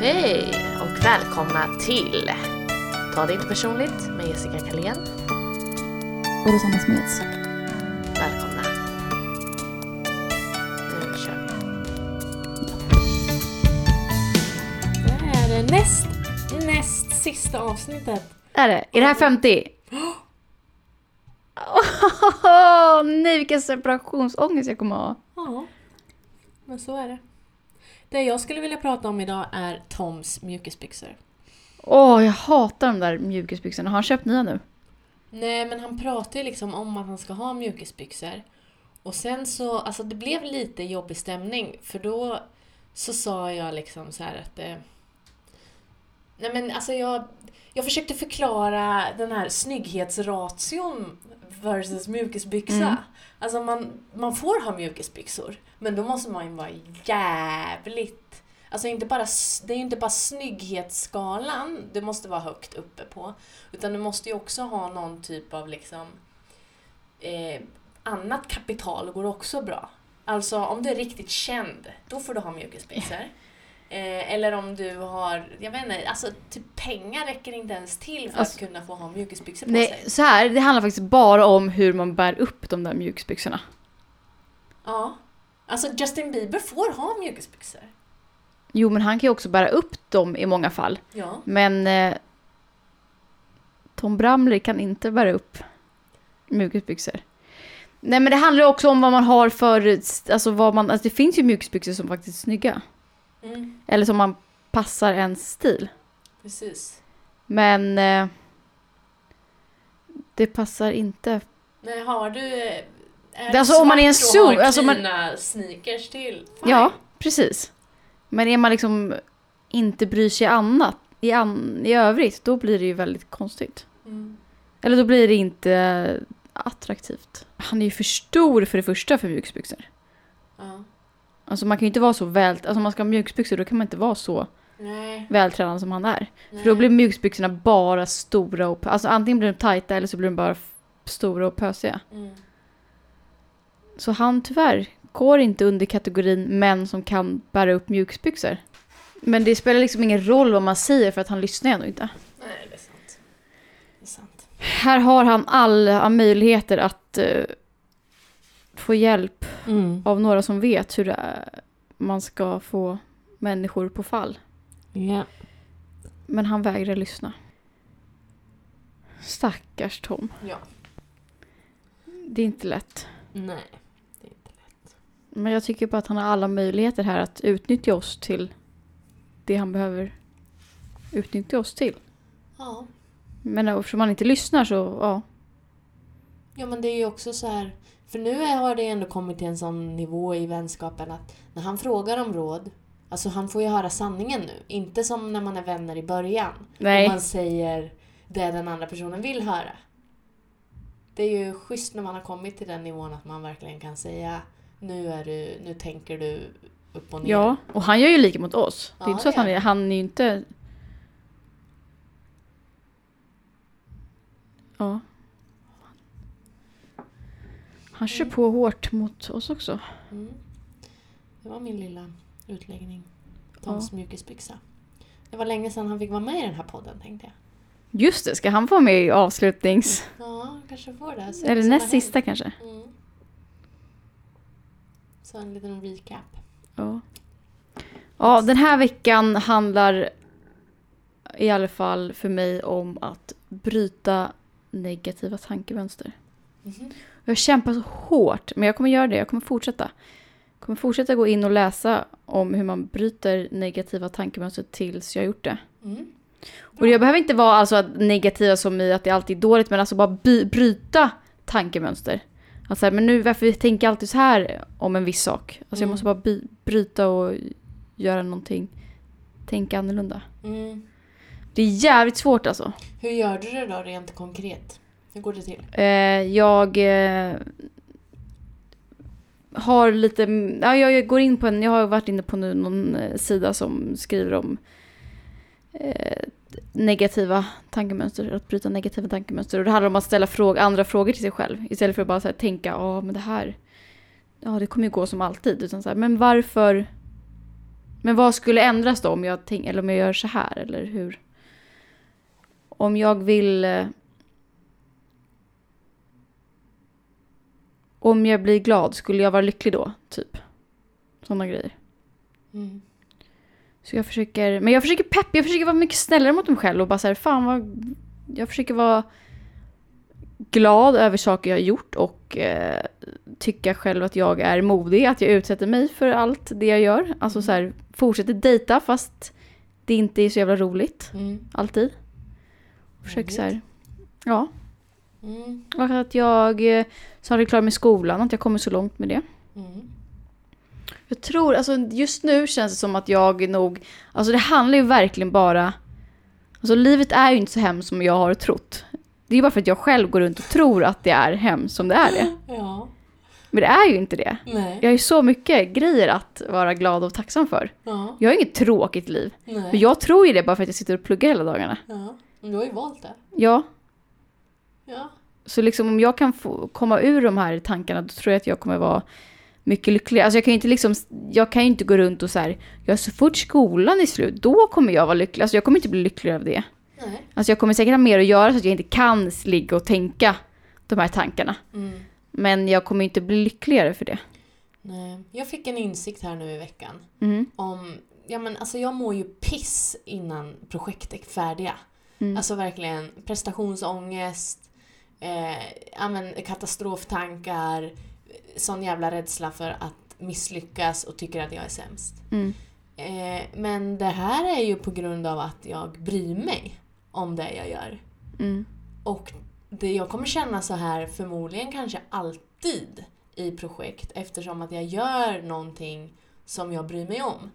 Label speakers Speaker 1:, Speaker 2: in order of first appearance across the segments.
Speaker 1: Hej och välkomna till Ta det inte personligt med Jessica Kalén.
Speaker 2: Och Rosanna Smeds.
Speaker 1: Välkomna. Nu kör vi.
Speaker 3: Det här är näst, näst sista avsnittet.
Speaker 2: Är det? Är det här 50? Åh nej vilken separationsångest jag kommer ha.
Speaker 3: Ja, men så är det. Det jag skulle vilja prata om idag är Toms mjukisbyxor.
Speaker 2: Åh jag hatar de där mjukisbyxorna. Har han köpt nya nu?
Speaker 3: Nej, men han pratar ju liksom om att han ska ha mjukisbyxor. Och sen så, alltså det blev lite jobbig stämning för då så sa jag liksom så här att eh, Nej men alltså jag, jag försökte förklara den här snygghetsration versus mjukisbyxa.
Speaker 2: Mm.
Speaker 3: Alltså man, man får ha mjukisbyxor, men då måste man ju vara jävligt... Alltså inte bara, s- det är ju inte bara snygghetsskalan det måste vara högt uppe på, utan du måste ju också ha någon typ av liksom... Eh, annat kapital går också bra. Alltså om du är riktigt känd, då får du ha mjukisbyxor. Eh, eller om du har, jag vet inte, alltså typ pengar räcker inte ens till för
Speaker 2: Alltså-
Speaker 3: att kunna få ha mjukisbyxor på
Speaker 2: Nej
Speaker 3: sig.
Speaker 2: så här, det handlar faktiskt bara om hur man bär upp de där mjukisbyxorna.
Speaker 3: Ja. Alltså Justin Bieber får ha mjukisbyxor.
Speaker 2: Jo men han kan ju också bära upp dem i många fall.
Speaker 3: Ja.
Speaker 2: Men eh, Tom Bramley kan inte bära upp mjukisbyxor. Nej men det handlar ju också om vad man har för, alltså vad man, alltså det finns ju mjukisbyxor som faktiskt är snygga.
Speaker 3: Mm,
Speaker 2: Eller som man passar ens stil.
Speaker 3: precis.
Speaker 2: Men eh, det passar inte.
Speaker 3: Nej, har du... eh, Är
Speaker 2: Det- alltså,
Speaker 3: du
Speaker 2: om man är en
Speaker 3: svart och
Speaker 2: zoo-
Speaker 3: har
Speaker 2: alltså, om man-
Speaker 3: cleana sneakers till. Fine.
Speaker 2: Ja, precis. Men är man liksom inte bryr sig annat, i, an, i övrigt, då blir det ju väldigt konstigt.
Speaker 3: Mm.
Speaker 2: Eller då blir det inte attraktivt. Han är ju för stor för det första för mjukisbyxor.
Speaker 3: Ja.
Speaker 2: Alltså man kan ju inte vara så väl... Alltså om man ska ha mjukisbyxor då kan man inte vara så
Speaker 3: Nej.
Speaker 2: vältränad som han är.
Speaker 3: nej.
Speaker 2: För då blir mjukisbyxorna bara stora och... pö- Alltså antingen blir de tajta eller så blir de bara f- stora och pösiga.
Speaker 3: Mm.
Speaker 2: Så han tyvärr går inte under kategorin män som kan bära upp mjukisbyxor. Men det spelar liksom ingen roll vad man säger för att han lyssnar ju ändå inte.
Speaker 3: Nej, det är sant. Det är sant.
Speaker 2: Här har han alla möjligheter att eh, få hjälp
Speaker 3: Mm.
Speaker 2: av några som vet hur det är. man ska få människor på fall.
Speaker 3: Ja.
Speaker 2: Men han vägrar lyssna. Stackars Tom.
Speaker 3: Ja.
Speaker 2: Det är inte lätt.
Speaker 3: Nej.
Speaker 2: Men jag tycker bara att han har alla möjligheter här att utnyttja oss till det han behöver utnyttja oss till.
Speaker 3: Ja.
Speaker 2: Men eftersom han inte lyssnar så, ja.
Speaker 3: Ja men det är ju också så här. För nu har det ändå kommit till en sån nivå i vänskapen att när han frågar om råd, alltså han får ju höra sanningen nu. Inte som när man är vänner i början.
Speaker 2: Nej.
Speaker 3: Och man säger det den andra personen vill höra. Det är ju schysst när man har kommit till den nivån att man verkligen kan säga nu, är du, nu tänker du upp och ner.
Speaker 2: Ja, och han gör ju lika mot oss. Det är
Speaker 3: Ja,
Speaker 2: inte så att
Speaker 3: det
Speaker 2: han
Speaker 3: gör
Speaker 2: är, han är ju inte... Ja. Han kör på hårt mot oss också.
Speaker 3: Mm. Det var min lilla utläggning. Toms mjukisbyxa. Det var länge sedan han fick vara med i den här podden tänkte jag.
Speaker 2: Just det, ska han vara med i avslutnings...
Speaker 3: Ja, kanske får Mm. det. Så
Speaker 2: Eller
Speaker 3: så
Speaker 2: näst
Speaker 3: vad
Speaker 2: sista kanske?
Speaker 3: händer. Mm. Så en liten recap.
Speaker 2: Ja. Ja, den här veckan handlar i alla fall för mig om att bryta negativa tankemönster.
Speaker 3: Mhm.
Speaker 2: Jag kämpar så hårt, men jag kommer göra det. Jag kommer fortsätta. Jag kommer fortsätta gå in och läsa om hur man bryter negativa tankemönster tills jag har gjort det.
Speaker 3: Mm.
Speaker 2: Och jag behöver inte vara alltså att negativa som i att det alltid är dåligt, men alltså bara by- bryta tankemönster. Alltså här, men nu, varför tänker jag alltid så här om en viss sak? Alltså jag
Speaker 3: Mm.
Speaker 2: måste bara by- bryta och göra någonting, tänka annorlunda.
Speaker 3: Mm.
Speaker 2: Det är jävligt svårt alltså.
Speaker 3: Hur gör du det då rent konkret? Hur går det till?
Speaker 2: Eh, jag eh, har lite, ja, jag, jag går in på en, jag har varit inne på nu någon eh, sida som skriver om eh, negativa tankemönster, att bryta negativa tankemönster. Och det handlar om att ställa fråga, andra frågor till sig själv istället för att bara så här, tänka, ja men det här, ja det kommer ju gå som alltid. Utan så här, men varför, Men vad skulle ändras då om jag, tänk, eller om jag gör så här eller hur? Om jag vill... eh, Om jag blir glad, skulle jag vara lycklig då? Typ. Sådana grejer.
Speaker 3: Mm.
Speaker 2: Så jag försöker, men jag försöker pepp, jag försöker vara mycket snällare mot mig själv och bara så här, fan vad, jag försöker vara glad över saker jag har gjort och eh, tycka själv att jag är modig, att jag utsätter mig för allt det jag gör. Alltså så här, fortsätter dejta fast det inte är så jävla roligt,
Speaker 3: Mm.
Speaker 2: alltid. Försöker så här, ja.
Speaker 3: Mm.
Speaker 2: Och att jag, eh, så har jag klar med skolan, att jag kommer så långt med det.
Speaker 3: Mm.
Speaker 2: Jag tror, alltså just nu känns det som att jag nog, alltså det handlar ju verkligen bara, alltså livet är ju inte så hemskt som jag har trott. Det är ju bara för att jag själv går runt och tror att det är hemskt som det är det.
Speaker 3: Ja.
Speaker 2: Men det är ju inte det.
Speaker 3: Nej.
Speaker 2: Jag har ju så mycket grejer att vara glad och tacksam för.
Speaker 3: Ja.
Speaker 2: Jag har inget tråkigt liv. Men
Speaker 3: Nej.
Speaker 2: jag tror ju det bara för att jag sitter och pluggar hela dagarna.
Speaker 3: Ja. Men Du har ju valt det.
Speaker 2: Ja,
Speaker 3: Ja.
Speaker 2: så liksom om jag kan få komma ur de här tankarna då tror jag att jag kommer vara mycket lyckligare. Alltså jag kan ju inte liksom, jag kan ju inte gå runt och så här, ja så fort skolan är slut, då kommer jag vara lycklig. Alltså jag kommer inte bli lycklig av det.
Speaker 3: Nej.
Speaker 2: Alltså jag kommer säkert ha mer att göra så att jag inte kan ligga och tänka de här tankarna.
Speaker 3: Mm.
Speaker 2: Men jag kommer inte bli lyckligare för det.
Speaker 3: Nej. Jag fick en insikt här nu i veckan.
Speaker 2: Mm.
Speaker 3: om, ja men alltså jag mår ju piss innan projekt är färdiga.
Speaker 2: Mm.
Speaker 3: Alltså verkligen prestationsångest, eh, ja men katastroftankar, sån jävla rädsla för att misslyckas och tycker att jag är sämst.
Speaker 2: Mm.
Speaker 3: Eh, men det här är ju på grund av att jag bryr mig om det jag gör.
Speaker 2: Mm.
Speaker 3: Och det, jag kommer känna så här förmodligen kanske alltid i projekt eftersom att jag gör någonting som jag bryr mig om.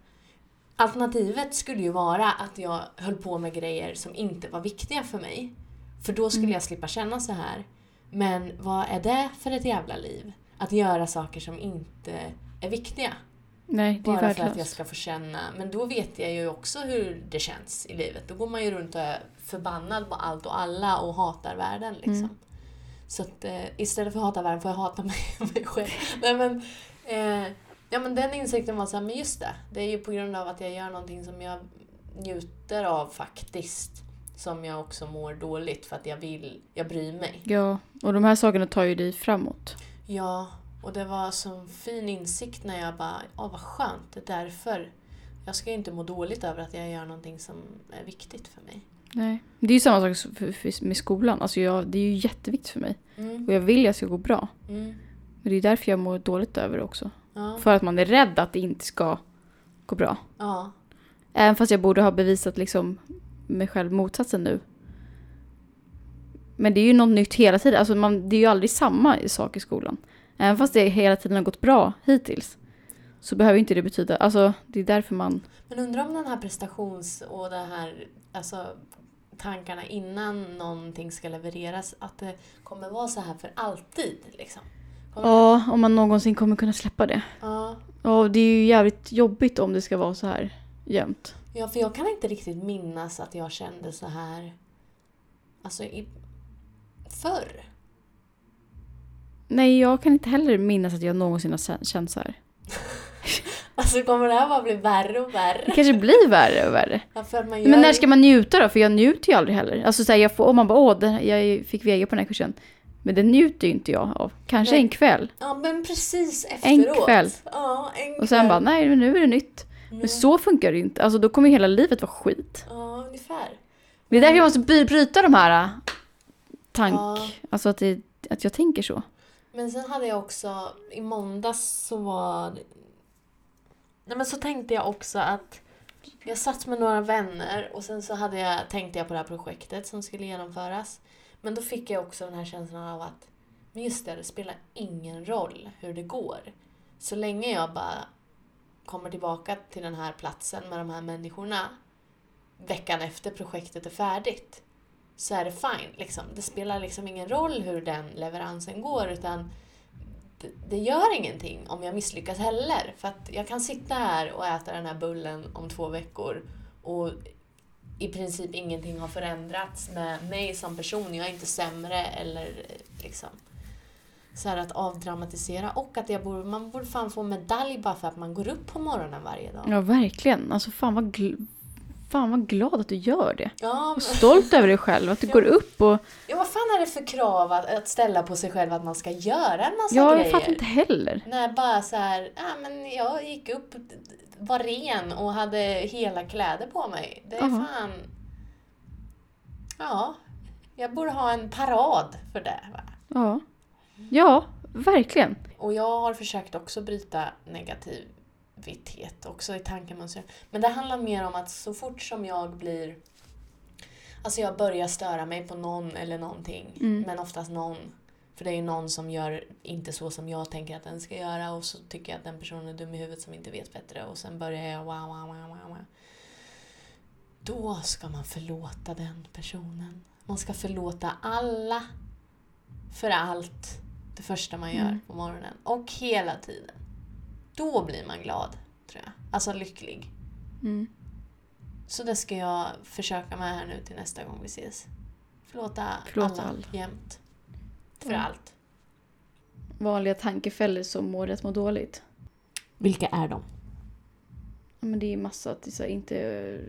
Speaker 3: Alternativet skulle ju vara att jag höll på med grejer som inte var viktiga för mig. För då skulle jag slippa känna så här. Men vad är det för ett jävla liv? Att göra saker som inte är viktiga.
Speaker 2: Nej, det är
Speaker 3: Bara för att jag
Speaker 2: värdelöst.
Speaker 3: ska få känna. Men då vet jag ju också hur det känns i livet. Då går man ju runt och är förbannad på allt och alla och hatar världen. Liksom.
Speaker 2: Mm.
Speaker 3: Så att eh, istället för att hata världen får jag hata mig, mig själv. Nej, men, eh, ja, men den insikten var såhär, men just det. Det är ju på grund av att jag gör någonting som jag njuter av faktiskt. Som jag också mår dåligt för att jag vill, jag bryr mig.
Speaker 2: Ja, och de här sakerna tar ju dig framåt.
Speaker 3: Ja, och det var sån fin insikt när jag bara, ja vad skönt, det är därför. Jag ska ju inte må dåligt över att jag gör någonting som är viktigt för mig.
Speaker 2: Nej. Det är ju samma sak s- för- för- med skolan, alltså jag, det är ju jätteviktigt för mig.
Speaker 3: Mm,
Speaker 2: Och jag vill att jag ska gå bra.
Speaker 3: mm,
Speaker 2: Men det är därför jag mår dåligt över det också.
Speaker 3: ja,
Speaker 2: För att man är rädd att det inte ska gå bra.
Speaker 3: ja,
Speaker 2: Även fast jag borde ha bevisat liksom mig själv motsatsen nu. Men det är ju något nytt hela tiden. Alltså man, det är ju aldrig samma sak i skolan. Även fast det hela tiden har gått bra hittills. Så behöver inte det betyda... Alltså det är därför man...
Speaker 3: Men undrar om den här prestations och det här, alltså tankarna innan någonting ska levereras, att det kommer vara så här för alltid liksom. Kommer-
Speaker 2: Ja, om man någonsin kommer kunna släppa det.
Speaker 3: Ja.
Speaker 2: Ja, det är ju jävligt jobbigt om det ska vara så här jämt.
Speaker 3: Ja, för jag kan inte riktigt minnas att jag kände så här, alltså i, förr.
Speaker 2: Nej, jag kan inte heller minnas att jag någonsin har sä- känt så här.
Speaker 3: Alltså kommer det här bara bli värre och värre?
Speaker 2: Det kanske blir värre och värre.
Speaker 3: Ja, för att man gör...
Speaker 2: Men när ska man njuta då? För jag njuter ju aldrig heller. Alltså så här, jag får, om man bara åh, den, jag fick VG på den här kursen. Men den njuter ju inte jag av. Kanske
Speaker 3: Nej.
Speaker 2: en kväll.
Speaker 3: Ja, men precis
Speaker 2: En
Speaker 3: efteråt.
Speaker 2: kväll.
Speaker 3: Ja, en kväll.
Speaker 2: Och sen bara, nej men nu är det nytt.
Speaker 3: Mm.
Speaker 2: Men så funkar det ju inte. Alltså då kommer ju hela livet vara skit.
Speaker 3: Ja, ungefär.
Speaker 2: Det är därför jag måste by- bryta de här äh, tank...
Speaker 3: Ja.
Speaker 2: Alltså att, det, att jag tänker så.
Speaker 3: Men sen hade jag också, i måndags så var... Nej men så tänkte jag också att jag satt med några vänner och sen så hade jag, tänkte jag på det här projektet som skulle genomföras. Men då fick jag också den här känslan av att, men just det, det spelar ingen roll hur det går. Så länge jag bara kommer tillbaka till den här platsen med de här människorna veckan efter projektet är färdigt så är det fine. Liksom. Det spelar liksom ingen roll hur den leveransen går utan det, det gör ingenting om jag misslyckas heller. För att jag kan sitta här och äta den här bullen om två veckor och i princip ingenting har förändrats med mig som person. Jag är inte sämre eller eh, liksom. så här att avdramatisera och att jag borde, man borde fan få medalj bara för att man går upp på morgonen varje dag.
Speaker 2: Ja, verkligen. Alltså fan vad, gl- fan vad glad att du gör det.
Speaker 3: Ja,
Speaker 2: Och
Speaker 3: men,
Speaker 2: stolt över dig själv, att du går upp och...
Speaker 3: ja, vad fan är det för krav att, att ställa på sig själv att man ska göra en massa
Speaker 2: Ja,
Speaker 3: grejer?
Speaker 2: jag fattar inte heller.
Speaker 3: Nej, bara så här, ja men jag gick upp, var ren och hade hela kläder på mig. Det är
Speaker 2: Jaha.
Speaker 3: fan... Ja, jag borde ha en parad för det. Va?
Speaker 2: Ja. Ja, verkligen.
Speaker 3: Och jag har försökt också bryta negativitet också i tankemönster. Men det handlar mer om att så fort som jag blir... Alltså jag börjar störa mig på någon eller någonting.
Speaker 2: Mm.
Speaker 3: Men oftast någon. För det är ju någon som gör inte så som jag tänker att den ska göra och så tycker jag att den personen är dum i huvudet som inte vet bättre och sen börjar jag wow, wow, wow, wow, wow. Då ska man förlåta den personen. Man ska förlåta alla för allt det första man gör
Speaker 2: Mm.
Speaker 3: på morgonen och hela tiden. Då blir man glad, tror jag. Alltså lycklig.
Speaker 2: Mm.
Speaker 3: Så det ska jag försöka med här nu till nästa gång vi ses. Förlåta,
Speaker 2: Förlåta
Speaker 3: alla,
Speaker 2: alla.
Speaker 3: jämt. För
Speaker 2: Mm.
Speaker 3: allt.
Speaker 2: Vanliga tankefällor som mår rätt må dåligt.
Speaker 3: Vilka är de?
Speaker 2: Ja, men det är ju massa att det är så här, inte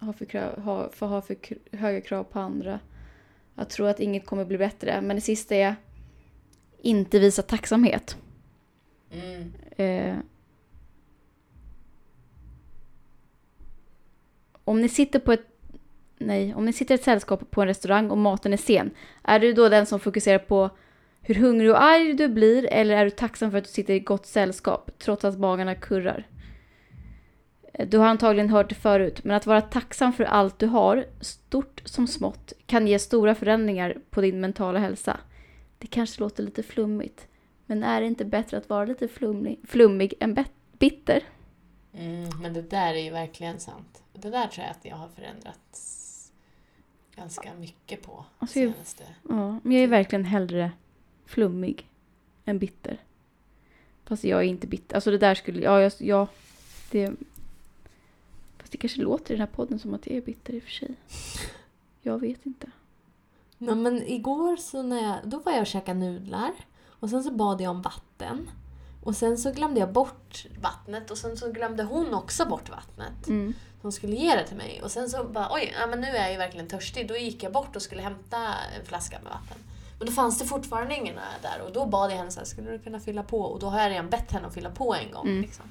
Speaker 2: ha för, krav, ha, för, ha för kr- höga krav på andra. Att tro att inget kommer bli bättre. Men det sista är inte visa tacksamhet.
Speaker 3: Mm.
Speaker 2: Eh, om ni sitter på ett Nej, om ni sitter i ett sällskap på en restaurang och maten är sen, är du då den som fokuserar på hur hungrig och arg du blir eller är du tacksam för att du sitter i gott sällskap trots att magarna kurrar? Eh, Du har antagligen hört det förut, men att vara tacksam för allt du har, stort som smått, kan ge stora förändringar på din mentala hälsa. Det kanske låter lite flummigt, men är det inte bättre att vara lite flummig, flummig än bet- bitter?
Speaker 3: Mm, men det där är ju verkligen sant. Det där tror jag att jag har förändrats ganska mycket på
Speaker 2: Alltså, jag-
Speaker 3: senaste.
Speaker 2: Ja, men jag är verkligen hellre flummig än bitter. Fast jag är inte bitter. Alltså det där skulle, ja, jag, ja det... Fast det kanske låter i den här podden som att jag är bitter i och för sig. Jag vet inte.
Speaker 3: Nej, men igår så när jag, då var jag och käkade nudlar och sen så bad jag om vatten. Och sen så glömde jag bort vattnet och sen så glömde hon också bort vattnet.
Speaker 2: Mm.
Speaker 3: Hon skulle ge det till mig och sen så bara oj, ja, men nu är jag ju verkligen törstig. Då gick jag bort och skulle hämta en flaska med vatten. Men då fanns det fortfarande ingen där och då bad jag henne så här, skulle du kunna fylla på? Och då har jag redan bett henne att fylla på en gång.
Speaker 2: Mm.
Speaker 3: Liksom.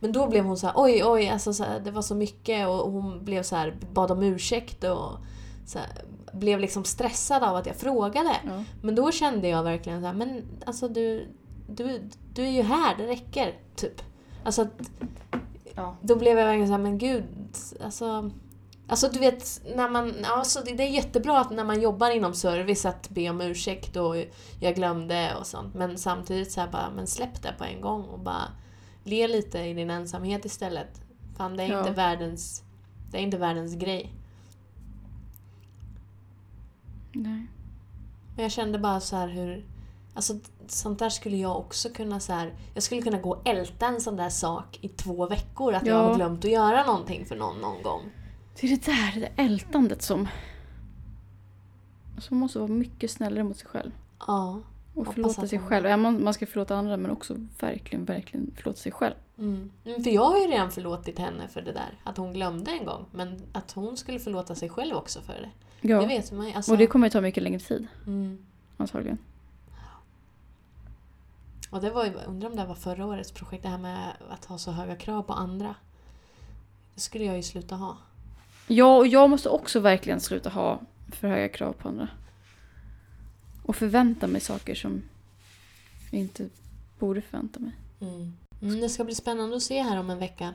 Speaker 3: Men då blev hon så här, oj oj, alltså, så här, det var så mycket och och hon blev så här, bad om ursäkt och så här, blev liksom stressad av att jag frågade.
Speaker 2: Ja.
Speaker 3: Men då kände jag verkligen så här, men alltså du, du, du är ju här, det räcker. Typ. Alltså att
Speaker 2: Ja.
Speaker 3: då blev jag verkligen så här, men gud, alltså... Alltså du vet, när man, alltså det det är jättebra att när man jobbar inom service att be om ursäkt och jag glömde och sånt. Men samtidigt så här bara, men släpp det på en gång och bara le lite i din ensamhet istället. Fan det är
Speaker 2: Ja.
Speaker 3: inte världens, det är inte världens grej.
Speaker 2: Nej.
Speaker 3: Men jag kände bara så här hur... Alltså sånt där skulle jag också kunna så här, Jag skulle kunna gå och älta en sån där sak i två veckor. Att jag
Speaker 2: Ja.
Speaker 3: har glömt att göra någonting för någon någon gång.
Speaker 2: Det är det där, det där ältandet som... Alltså man måste vara mycket snällare mot sig själv.
Speaker 3: Ja.
Speaker 2: Och
Speaker 3: Hoppas
Speaker 2: förlåta
Speaker 3: att
Speaker 2: sig
Speaker 3: man-
Speaker 2: själv. Ja, man, man ska förlåta andra men också verkligen, verkligen förlåta sig själv.
Speaker 3: Mm. Mm, För jag har ju redan förlåtit henne för det där. Att hon glömde en gång. Men att hon skulle förlåta sig själv också för det.
Speaker 2: Ja.
Speaker 3: Det vet man ju. Alltså,
Speaker 2: Och det kommer ju ta mycket längre tid
Speaker 3: mm.
Speaker 2: antagligen.
Speaker 3: och det var ju, undrar om det här var förra årets projekt. Det här med att ha så höga krav på andra. Det skulle jag ju sluta ha.
Speaker 2: Ja, och jag måste också verkligen sluta ha för höga krav på andra. Och förvänta mig saker som jag inte borde förvänta mig.
Speaker 3: Mm. Mm, det ska bli spännande att se här om en vecka.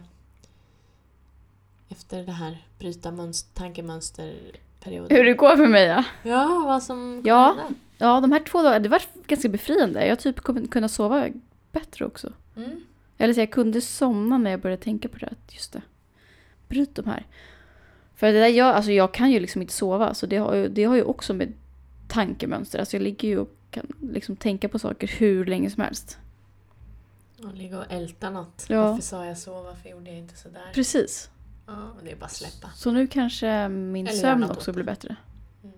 Speaker 3: Efter det här bryta mönster, tankemönsterperioden.
Speaker 2: Hur det går för mig ja.
Speaker 3: Ja, vad som kommer
Speaker 2: Ja.
Speaker 3: hända.
Speaker 2: Ja, de här två dagarna, det var ganska befriande. Jag har typ kunnat- kunnat sova bättre också.
Speaker 3: Mm.
Speaker 2: Eller så jag kunde somna när jag började tänka på det. att Just det. Bryt de här. För det där jag, alltså jag kan ju liksom inte sova. Så det har ju, det har ju också med tankemönster. Alltså jag ligger ju och kan liksom tänka på saker hur länge som helst.
Speaker 3: Och ligga och älta något.
Speaker 2: Ja.
Speaker 3: Varför sa jag så? Varför gjorde jag inte sådär?
Speaker 2: Precis.
Speaker 3: Ja, men det är bara att släppa.
Speaker 2: Så nu kanske min
Speaker 3: Eller göra
Speaker 2: sömn
Speaker 3: något åt
Speaker 2: också
Speaker 3: det.
Speaker 2: blir bättre.
Speaker 3: Mm.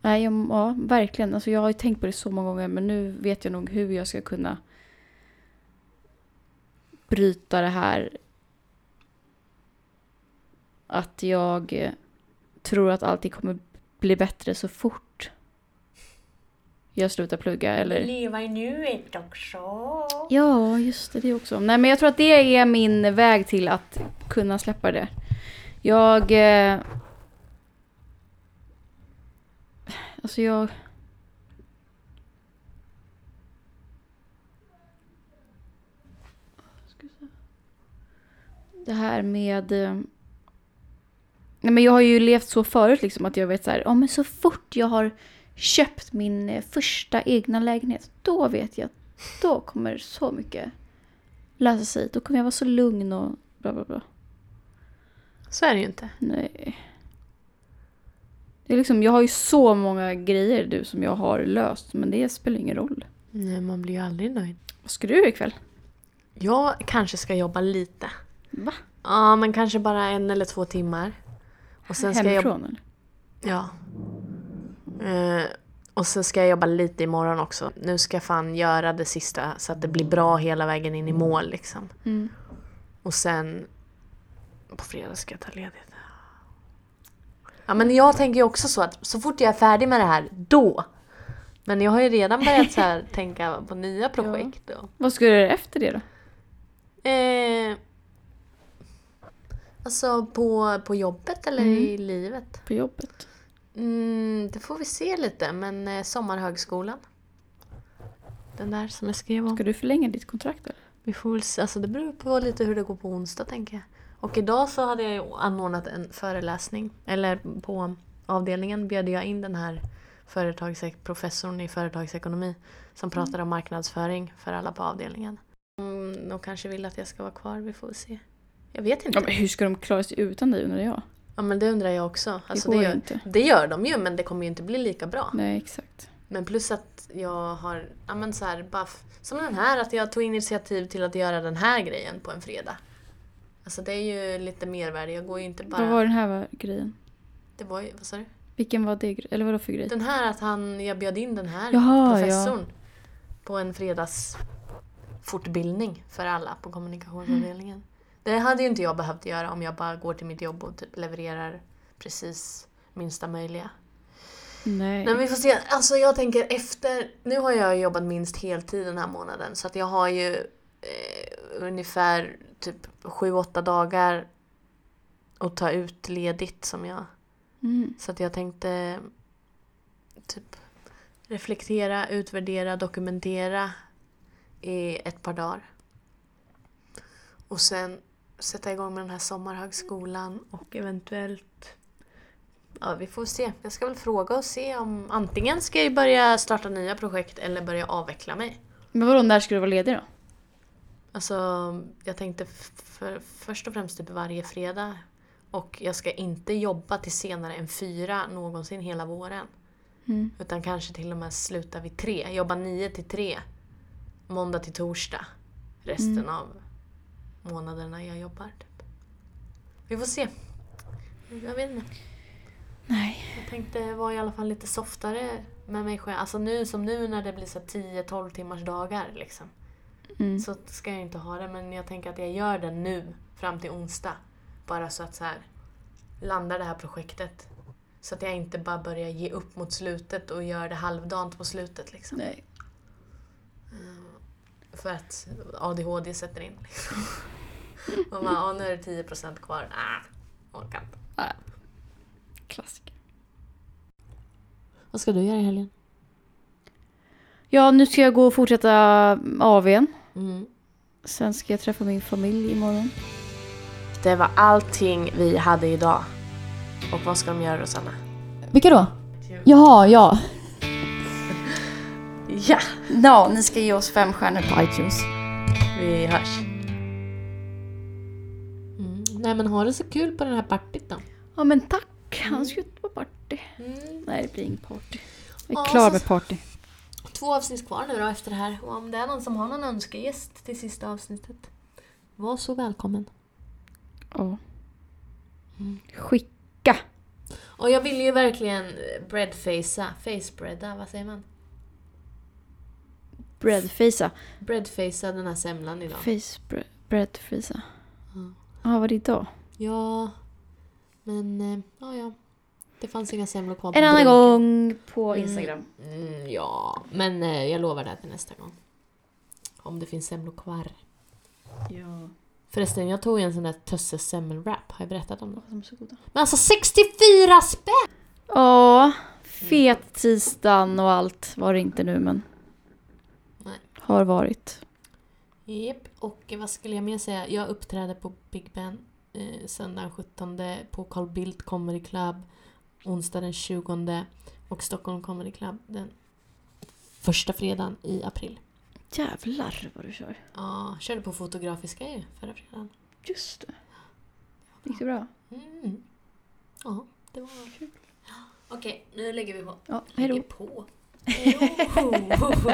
Speaker 2: Nej, jag, ja, verkligen. Alltså, jag har ju tänkt på det så många gånger men nu vet jag nog hur jag ska kunna bryta det här att jag eh, tror att allting kommer bli bättre så fort jag slutar plugga eller...
Speaker 1: Leva i nuet också.
Speaker 2: Ja, just det, det också. Nej, men jag tror att det är min väg till att kunna släppa det. Jag... Eh, alltså jag... Ska vi se. Det här med... eh, Nej, men jag har ju levt så förut liksom att jag vet så här, ja men så fort jag har köpt min eh, första egna lägenhet, då vet jag att då kommer så mycket lösa sig. Då kommer jag vara så lugn och bla bla bla.
Speaker 3: Så är det ju inte.
Speaker 2: Nej. Det är liksom, jag har ju så många grejer du som jag har löst men det spelar ingen roll.
Speaker 3: Nej, man blir ju aldrig nöjd.
Speaker 2: Vad ska du göra ikväll?
Speaker 3: Jag kanske ska jobba lite.
Speaker 2: Va?
Speaker 3: Ja, men kanske bara en eller två timmar. Och sen ska jag
Speaker 2: Hemifrån eller?
Speaker 3: Ja. Eh, och sen ska jag jobba lite imorgon också. Nu ska jag fan göra det sista så att det blir bra hela vägen in i mål liksom.
Speaker 2: Mm.
Speaker 3: Och sen på fredag ska jag ta ledigt. Ja men jag tänker ju också så att så fort jag är färdig med det här, då! Men jag har ju redan börjat så här, tänka på nya projekt. Och,
Speaker 2: Vad ska du göra efter det då?
Speaker 3: eh, alltså på, på jobbet eller i livet?
Speaker 2: På jobbet?
Speaker 3: Mm, det får vi se lite, men eh, sommarhögskolan. Den där som jag skrev om.
Speaker 2: Ska du förlänga ditt kontrakt eller?
Speaker 3: Vi får väl se, alltså det beror på lite hur det går på onsdag tänker jag. Och idag så hade jag ju anordnat en föreläsning, eller på avdelningen bjöd jag in den här företagse- professorn i företagsekonomi som pratade om marknadsföring för alla på avdelningen. Mm, de kanske vill att jag ska vara kvar, vi får se. Jag vet inte.
Speaker 2: Ja, men hur ska de klara sig utan dig undrar jag?
Speaker 3: Ja men det undrar jag också. Alltså,
Speaker 2: det
Speaker 3: det,
Speaker 2: går ju
Speaker 3: gör,
Speaker 2: inte.
Speaker 3: det gör de ju men det kommer ju inte bli lika bra.
Speaker 2: Nej exakt.
Speaker 3: Men plus att jag har, ja men så här, bara f- som den här, att jag tog initiativ till att göra den här grejen på en fredag. Alltså det är ju lite mervärde, jag går ju inte bara...
Speaker 2: Vad var den här va- grejen?
Speaker 3: Det var ju, vad sa du?
Speaker 2: Vilken var det? gre- Eller vadå för grej?
Speaker 3: Den här att han, jag bjöd in den här
Speaker 2: Jaha,
Speaker 3: professorn på en fredagsfortbildning för alla på kommunikationsavdelningen.
Speaker 2: Mm.
Speaker 3: Det hade ju inte jag behövt göra om jag bara går till mitt jobb och typ levererar precis minsta möjliga.
Speaker 2: Nej.
Speaker 3: Nej men vi får se. Alltså jag tänker efter, nu har jag jobbat minst heltid den här månaden så att jag har ju eh, ungefär typ 7-8 dagar att ta ut ledigt som jag.
Speaker 2: Mm.
Speaker 3: Så att jag tänkte typ reflektera, utvärdera, dokumentera i ett par dagar. Och sen sätta igång med den här sommarhögskolan och eventuellt Ja, vi får se. Jag ska väl fråga och se om antingen ska jag börja starta nya projekt eller börja avveckla mig.
Speaker 2: Men vadå, när ska du vara ledig då?
Speaker 3: Alltså, jag tänkte f- för, först och främst typ varje fredag. Och jag ska inte jobba till senare än fyra någonsin hela våren.
Speaker 2: Mm.
Speaker 3: Utan kanske till och med sluta vid tre. Jobba nio till tre. Måndag till torsdag. Resten av månaderna jag jobbar. Typ. Vi får se. Jag vet inte.
Speaker 2: Nej.
Speaker 3: Jag tänkte vara i alla fall lite softare med mig själv. Alltså nu som nu när det blir så 10-12 timmars dagar liksom.
Speaker 2: Mm.
Speaker 3: Så ska jag inte ha det men jag tänker att jag gör det nu fram till onsdag. Bara så att så här landar det här projektet. Så att jag inte bara börjar ge upp mot slutet och gör det halvdant på slutet liksom.
Speaker 2: Nej.
Speaker 3: För att ADHD sätter in. Liksom. Man bara, "Ah, nu är det 10% kvar. Ah, orkar inte.
Speaker 2: Klassiker.
Speaker 3: Vad ska du göra i helgen?
Speaker 2: Ja, nu ska jag gå och fortsätta AWn.
Speaker 3: Mm.
Speaker 2: Sen ska jag träffa min familj imorgon.
Speaker 3: Det var allting vi hade idag. Och vad ska de göra Rosanna?
Speaker 2: Vilka då? Jaha, ja.
Speaker 3: Ja,
Speaker 2: Ja, ni ska ge oss fem stjärnor på iTunes.
Speaker 3: vi hörs. Mm. Nej men ha det så kul på den här partyt då.
Speaker 2: Ja, men tack. Han ska ut på party.
Speaker 3: Mm.
Speaker 2: Nej, det blir ingen party. Jag är
Speaker 3: Ja,
Speaker 2: klar
Speaker 3: så-
Speaker 2: med party.
Speaker 3: Två avsnitt kvar nu då efter det här. Och om det är någon som har någon önskegäst till sista avsnittet. Var så välkommen.
Speaker 2: Mm. Ja. Skicka.
Speaker 3: Och jag ville ju verkligen breadfacea, facebreada, vad säger man?
Speaker 2: Breadfisa.
Speaker 3: Breadfacea den här semlan idag.
Speaker 2: Face bre- breadfisa.
Speaker 3: Mm.
Speaker 2: Ja, vad är det idag?
Speaker 3: Ja, men eh, ja, ja. Det fanns inga semlor kvar på
Speaker 2: En annan
Speaker 3: brunken.
Speaker 2: gång på Instagram.
Speaker 3: Mm, ja, men eh, jag lovar det här till nästa gång. Om det finns semlor kvar.
Speaker 2: Ja.
Speaker 3: Förresten, jag tog ju en sån där Tösses semmelwrap. Har jag berättat om det?
Speaker 2: De är så goda.
Speaker 3: Men alltså 64 spänn!
Speaker 2: Ja, fet tisdagen och allt var det inte nu men.
Speaker 3: Nej.
Speaker 2: Har varit.
Speaker 3: Japp, och vad skulle jag mer säga? Jag uppträder på Big Ben eh, söndag den 17 på Carl Bildt Comedy Club onsdag den 20 och Stockholm Comedy Club den första fredagen i april.
Speaker 2: Jävlar vad du kör.
Speaker 3: Ja, körde på Fotografiska ju förra fredagen.
Speaker 2: Just det. Gick det bra?
Speaker 3: Mm. Ja, det var...
Speaker 2: Kul.
Speaker 3: Okej, nu lägger vi på.
Speaker 2: Ja, hejdå.
Speaker 3: Lägger på. Hejdå.